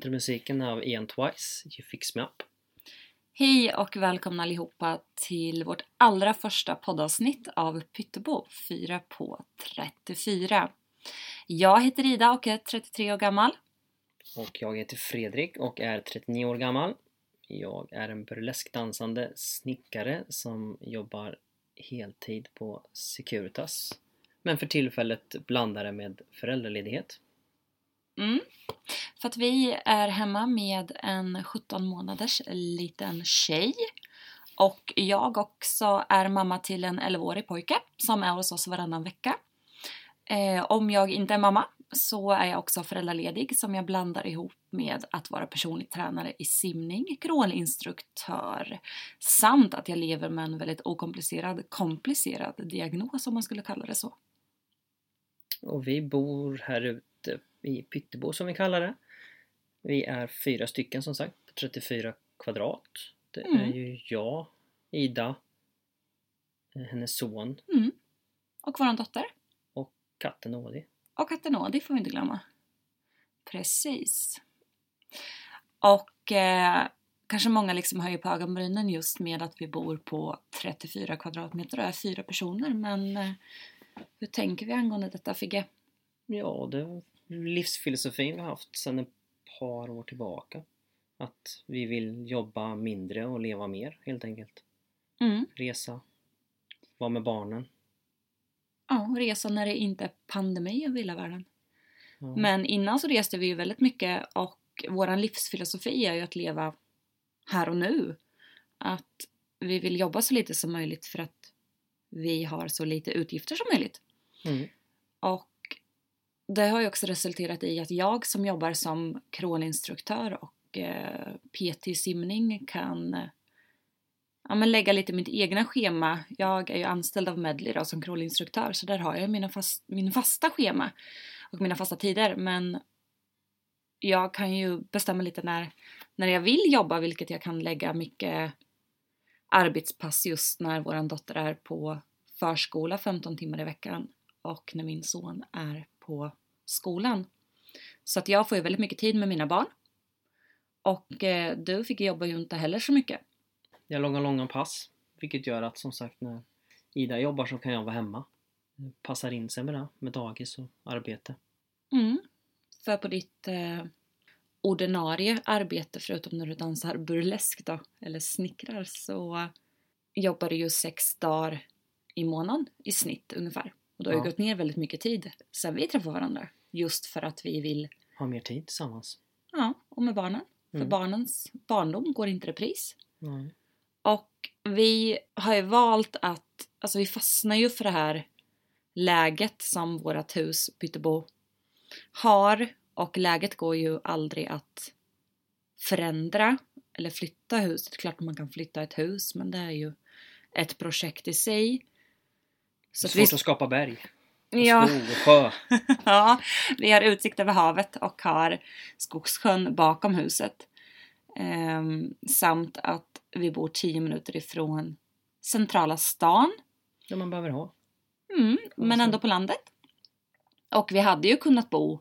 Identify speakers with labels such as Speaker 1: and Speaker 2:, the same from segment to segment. Speaker 1: till musiken av Ian Twice, You Fix Me Up.
Speaker 2: Hej och välkomna allihopa till vårt allra första poddavsnitt av Pyttebo 4 på 34. Jag heter Ida och är 33 år gammal.
Speaker 1: Och jag heter Fredrik och är 39 år gammal. Jag är en burleskdansande snickare som jobbar heltid på Securitas. Men för tillfället blandar det med föräldraledighet.
Speaker 2: Mm. För att vi är hemma med en 17 månaders liten tjej. Och jag också är mamma till en 11-årig pojke som är hos oss varannan vecka. Eh, om jag inte är mamma så är jag också föräldraledig som jag blandar ihop med att vara personlig tränare i simning, kroninstruktör samt att jag lever med en väldigt okomplicerad, komplicerad diagnos om man skulle kalla det så.
Speaker 1: Och vi bor här ute i Pyttebo som vi kallar det. Vi är fyra stycken som sagt, på 34 kvadrat. Det
Speaker 2: Mm.
Speaker 1: är ju jag, Ida, eh, hennes son,
Speaker 2: Mm. Och vår dotter.
Speaker 1: katten Ådi.
Speaker 2: Och Atenodi får vi inte glömma. Precis. Och eh, kanske många liksom höjer på ögonbrynen just med att vi bor på 34 kvadratmeter och är fyra personer. Men eh, hur tänker vi angående detta Figge?
Speaker 1: Ja, det är livsfilosofin vi har haft sedan ett par år tillbaka. Att vi vill jobba mindre och leva mer helt enkelt.
Speaker 2: Mm.
Speaker 1: Resa, vara med barnen.
Speaker 2: Ja, och resa när det inte är pandemi över hela världen.
Speaker 1: Ja.
Speaker 2: Men innan så reste vi ju väldigt mycket och vår livsfilosofi är ju att leva här och nu. Att vi vill jobba så lite som möjligt för att vi har så lite utgifter som möjligt.
Speaker 1: Mm.
Speaker 2: Och det har ju också resulterat i att jag som jobbar som crawlinstruktör och eh, PT i simning kan eh, ja, men lägga lite mitt egna schema. Jag är ju anställd av Medley då, som crawlinstruktör så där har jag mina fast, min fasta schema och mina fasta tider men jag kan ju bestämma lite när, när jag vill jobba vilket jag kan lägga mycket arbetspass just när vår dotter är på förskola 15 timmar i veckan och när min son är på skolan. Så att jag får ju väldigt mycket tid med mina barn. Och eh, du fick jobba ju inte heller så mycket.
Speaker 1: Jag har långa, långa pass. Vilket gör att som sagt när Ida jobbar så kan jag vara hemma. Passar in sig med det, med dagis och arbete.
Speaker 2: Mm. För på ditt eh, ordinarie arbete, förutom när du dansar burlesk då, eller snickrar, så jobbar du ju sex dagar i månaden i snitt ungefär. Och du har ju
Speaker 1: Ja.
Speaker 2: gått ner väldigt mycket tid sen vi träffade varandra. Just för att vi vill,
Speaker 1: Ha mer tid tillsammans.
Speaker 2: ja, och med barnen.
Speaker 1: Mm.
Speaker 2: För barnens barndom går inte i repris.
Speaker 1: Nej.
Speaker 2: Och vi har ju valt att, alltså vi fastnar ju för det här läget som vårat hus Pyttebo har och läget går ju aldrig att förändra eller flytta huset. Klart man kan flytta ett hus men det är ju ett projekt i sig. Så
Speaker 1: Så
Speaker 2: att
Speaker 1: Svårt
Speaker 2: vi,
Speaker 1: att skapa berg. Och
Speaker 2: ja,
Speaker 1: skog och sjö.
Speaker 2: ja, vi har utsikt över havet och har Skogssjön bakom huset. Ehm, samt att vi bor 10 minuter ifrån centrala stan.
Speaker 1: Det man behöver ha.
Speaker 2: Mm, men
Speaker 1: så.
Speaker 2: ändå på landet. Och vi hade ju kunnat bo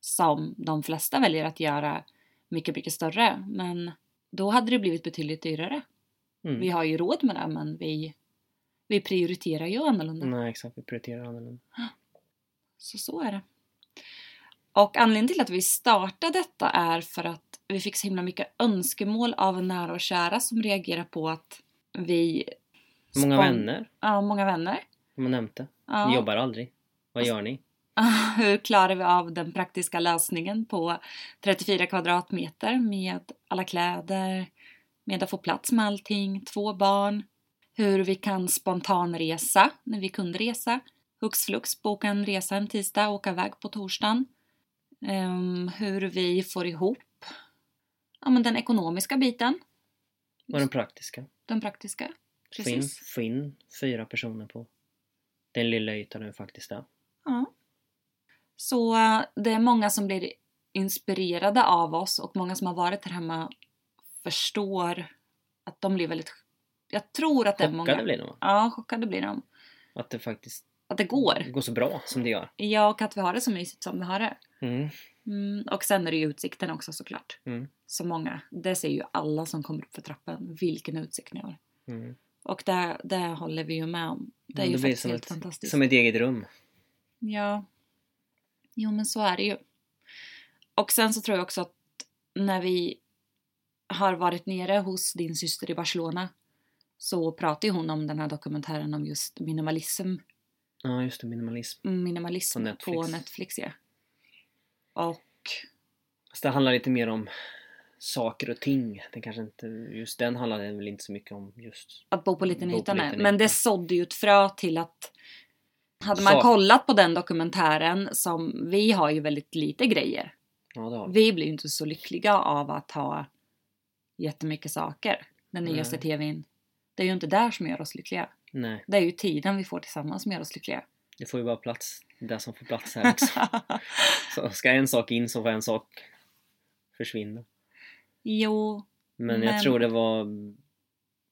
Speaker 2: som de flesta väljer att göra mycket, mycket större. Men då hade det blivit betydligt dyrare.
Speaker 1: Mm.
Speaker 2: Vi har ju råd med det men vi, vi prioriterar ju annorlunda.
Speaker 1: Nej exakt, vi prioriterar annorlunda.
Speaker 2: Så så är det. Och anledningen till att vi startade detta är för att vi fick så himla mycket önskemål av nära och kära som reagerar på att vi...
Speaker 1: Många
Speaker 2: spon-
Speaker 1: vänner,
Speaker 2: Ja, många vänner.
Speaker 1: har man nämnt det.
Speaker 2: Ja.
Speaker 1: Ni jobbar aldrig. Vad gör ni?
Speaker 2: Hur klarar vi av den praktiska lösningen på 34 kvadratmeter med alla kläder, med att få plats med allting, två barn, hur vi kan spontanresa när vi kunde resa, hux flux boka en resa en tisdag och åka iväg på torsdagen, Ehm, hur vi får ihop ja, men den ekonomiska biten,
Speaker 1: Vad är den praktiska?
Speaker 2: den praktiska.
Speaker 1: Få in,
Speaker 2: Precis.
Speaker 1: få in fyra personer på den lilla ytan den faktiskt är.
Speaker 2: Ja. Så eh, det är många som blir inspirerade av oss och många som har varit här hemma förstår att de blir väldigt... Jag tror att det är många...
Speaker 1: Chockade blir de va?
Speaker 2: Ja, chockade blir de.
Speaker 1: Att det faktiskt
Speaker 2: Att det går.
Speaker 1: går så bra som det gör.
Speaker 2: Ja, och att vi har det så mysigt som vi har det.
Speaker 1: Mm.
Speaker 2: Mm, och sen är det ju utsikten också såklart.
Speaker 1: Mm.
Speaker 2: Så många. Det ser ju alla som kommer upp för trappan vilken utsikt ni har.
Speaker 1: Mm.
Speaker 2: Och det, det håller vi ju med om. Det är
Speaker 1: Men
Speaker 2: ju
Speaker 1: det blir
Speaker 2: faktiskt
Speaker 1: som
Speaker 2: helt
Speaker 1: ett-
Speaker 2: fantastiskt.
Speaker 1: Som ett eget rum.
Speaker 2: Ja. Jo men så är det ju. Och sen så tror jag också att när vi har varit nere hos din syster i Barcelona så pratade ju hon om den här dokumentären om just minimalism.
Speaker 1: Ja, just det. Minimalism.
Speaker 2: Minimalism
Speaker 1: På
Speaker 2: på
Speaker 1: Netflix.
Speaker 2: Netflix, ja. Och
Speaker 1: Så det handlar lite mer om saker och ting. Det kanske inte, just den handlade väl inte så mycket om just...
Speaker 2: att bo på liten
Speaker 1: Bo på
Speaker 2: yta nej.
Speaker 1: liten
Speaker 2: Men
Speaker 1: yta.
Speaker 2: det sådde ju ett frö till att hade man
Speaker 1: Så.
Speaker 2: kollat på den dokumentären som vi har ju väldigt lite grejer.
Speaker 1: Ja, det har vi.
Speaker 2: Vi blir ju inte så lyckliga av att ha jättemycket saker. Den
Speaker 1: Nej.
Speaker 2: nyaste tvn. Det är ju inte där som gör oss lyckliga.
Speaker 1: Nej,
Speaker 2: Det är ju tiden vi får tillsammans som gör oss lyckliga.
Speaker 1: det får ju bara plats. Det som får plats här också. så ska en sak in så får en sak försvinna.
Speaker 2: jo,
Speaker 1: Men jag
Speaker 2: Men-
Speaker 1: tror det var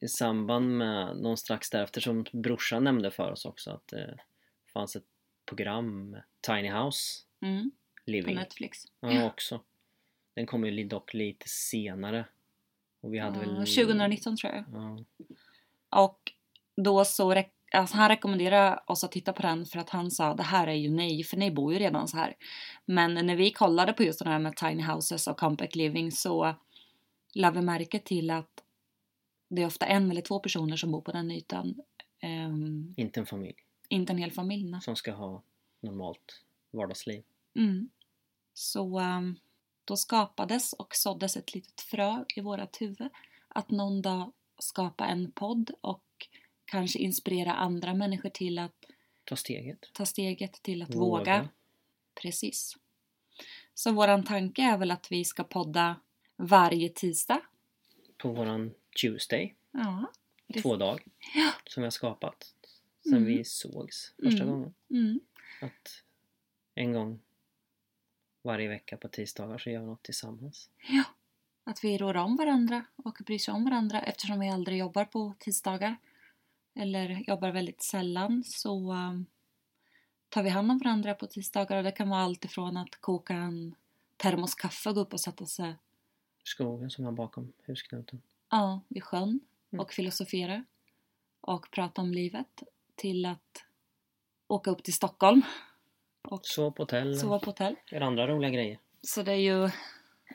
Speaker 1: i samband med någon strax därefter som brorsan nämnde för oss också att det fanns ett program, Tiny House
Speaker 2: mm, på
Speaker 1: Living.
Speaker 2: Netflix.
Speaker 1: Ja, också. Den kom ju li- dock lite senare. Och vi hade
Speaker 2: Ja,
Speaker 1: väl...
Speaker 2: 2019 tror jag.
Speaker 1: Ja.
Speaker 2: Och då så rek- alltså han rekommenderade oss att titta på den för att han sa det här är ju nej för ni bor ju redan så här. Men när vi kollade på just det här med tiny houses och compact living så lade vi märke till att det är ofta en eller två personer som bor på den ytan. Ehm,
Speaker 1: Inte en familj
Speaker 2: inte en hel familj. nej.
Speaker 1: som ska ha normalt vardagsliv.
Speaker 2: Mm. Så ehm, då skapades och såddes ett litet frö i vårat huvud att någon dag skapa en podd och kanske inspirera andra människor till att
Speaker 1: Ta steget.
Speaker 2: ta steget till att
Speaker 1: Våga.
Speaker 2: våga. Precis. Så våran tanke är väl att vi ska podda varje tisdag.
Speaker 1: På våran Tuesday,
Speaker 2: Ja. precis.
Speaker 1: två dag som vi har skapat sen
Speaker 2: Mm.
Speaker 1: vi sågs första
Speaker 2: Mm.
Speaker 1: gången.
Speaker 2: Mm.
Speaker 1: Att en gång varje vecka på tisdagar så gör vi något tillsammans.
Speaker 2: Att vi rår om varandra och bryr sig om varandra eftersom vi aldrig jobbar på tisdagar. Eller jobbar väldigt sällan så um, tar vi hand om varandra på tisdagar och det kan vara allt ifrån att koka en termoskaffe och gå upp och sätta sig
Speaker 1: Skogen som var bakom husknuten.
Speaker 2: Ja, vid sjön
Speaker 1: Mm.
Speaker 2: och filosofera och prata om livet till att åka upp till Stockholm och
Speaker 1: Sov på hotell,
Speaker 2: sova på hotell.
Speaker 1: gör andra roliga grejer.
Speaker 2: Så det är ju,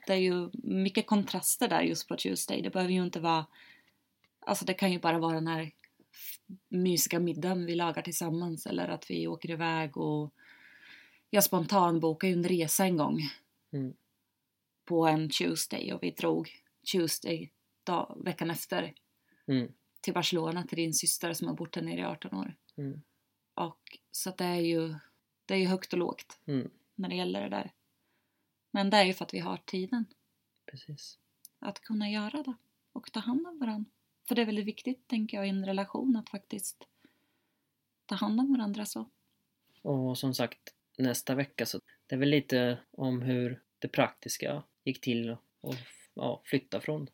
Speaker 2: det är ju mycket kontraster där just på Tuesday. Det behöver ju inte vara... Alltså det kan ju bara vara den här f- mysiga middagen vi lagar tillsammans eller att vi åker iväg och... Jag spontanbokade ju en resa en gång
Speaker 1: Mm.
Speaker 2: på en Tuesday och vi drog Tuesday dag, veckan efter
Speaker 1: Mm.
Speaker 2: till Barcelona till din syster som har bott där nere i 18 år.
Speaker 1: Mm.
Speaker 2: Och, så att det är ju det är ju högt och lågt
Speaker 1: Mm.
Speaker 2: när det gäller det där. Men det är ju för att vi har tiden
Speaker 1: Precis.
Speaker 2: att kunna göra det och ta hand om varandra. För det är väldigt viktigt, tänker jag, i en relation att faktiskt ta hand om varandra så.
Speaker 1: Och som sagt, nästa vecka så det är väl lite om hur det praktiska gick till och ja, flytta från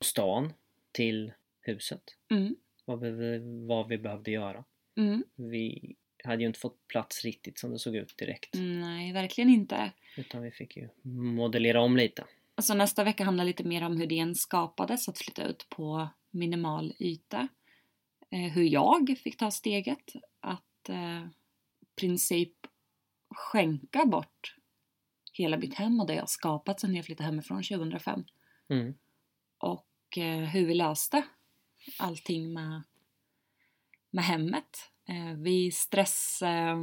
Speaker 1: stan till huset.
Speaker 2: Mm,
Speaker 1: Vad, behöver, vad vi behövde göra.
Speaker 2: mm,
Speaker 1: Vi hade ju inte fått plats riktigt som det såg ut direkt.
Speaker 2: Mm. nej, verkligen inte.
Speaker 1: Utan vi fick ju modellera om lite.
Speaker 2: Alltså nästa vecka handlar lite mer om hur den skapades att flytta ut på minimal yta. Eh, hur jag fick ta steget att eh, i princip skänka bort hela mitt hem och det jag skapat sedan jag flyttade hemifrån 2005.
Speaker 1: Mm.
Speaker 2: Och eh, hur vi löste allting med, med hemmet. Eh, vi stress, eh,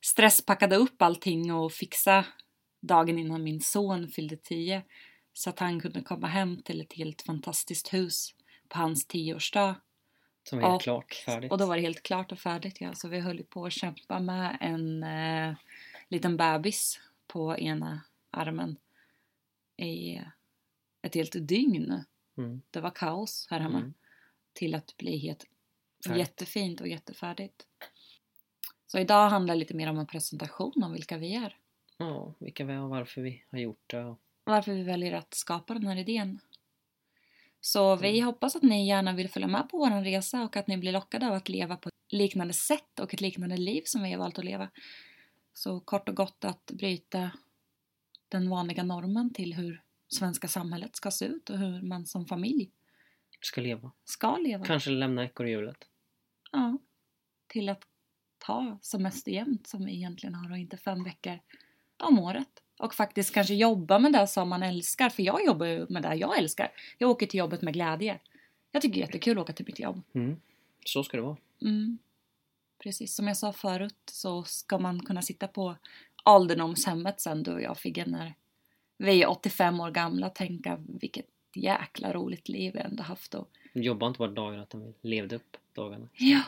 Speaker 2: stresspackade upp allting och fixade dagen innan min son fyllde 10 så att han kunde komma hem till ett helt fantastiskt hus på hans 10-årsdag.
Speaker 1: Som var helt
Speaker 2: Och-
Speaker 1: klart färdigt.
Speaker 2: Och då var det helt klart och färdigt ja, så vi höll ju på att kämpa med en eh, liten bebis på ena armen i ett helt dygn.
Speaker 1: Mm.
Speaker 2: Det var kaos här hemma.
Speaker 1: Mm.
Speaker 2: Till att bli helt
Speaker 1: Färdigt.
Speaker 2: jättefint och jättefärdigt. Så idag handlar det lite mer om en presentation om vilka vi är.
Speaker 1: Ja, vilka vi är och varför vi har gjort det. och-
Speaker 2: varför vi väljer att skapa den här idén. Så vi hoppas att ni gärna vill följa med på vår resa och att ni blir lockade av att leva på ett liknande sätt och ett liknande liv som vi har valt att leva. Så kort och gott att bryta den vanliga normen till hur svenska samhället ska se ut och hur man som familj
Speaker 1: ska leva.
Speaker 2: ska leva.
Speaker 1: Kanske lämna ekorrhjulet.
Speaker 2: Ja. Till att ta semester jämt som vi egentligen har och inte fem veckor om året. Och faktiskt kanske jobba med det som man älskar. För jag jobbar ju med det jag älskar. Jag åker till jobbet med glädje. Jag tycker det är jättekul att åka till mitt jobb.
Speaker 1: Mm. Så ska det vara.
Speaker 2: Mm. Precis som jag sa förut så ska man kunna sitta på ålderdomshemmet sen du och jag Figgen när vi är 85 år gamla och tänka vilket jäkla roligt liv vi ändå haft och
Speaker 1: Jobba inte bara dagarna utan vi levde upp dagarna.
Speaker 2: Ja,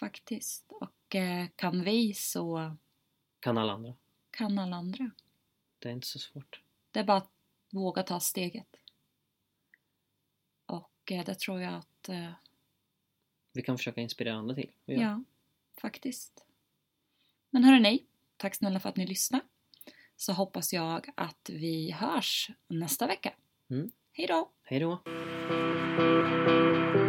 Speaker 2: faktiskt. Och eh, kan vi så
Speaker 1: Kan alla andra.
Speaker 2: kan alla andra.
Speaker 1: Det är inte så svårt.
Speaker 2: Det är bara att våga ta steget. Och eh, det tror jag att, eh,
Speaker 1: Vi kan försöka inspirera andra till. Vi
Speaker 2: ja.
Speaker 1: gör.
Speaker 2: faktiskt. Men hörrni, tack snälla för att ni lyssnade. Så hoppas jag att vi hörs nästa vecka.
Speaker 1: Mm.
Speaker 2: Hej då!
Speaker 1: Hej då!
Speaker 2: Thank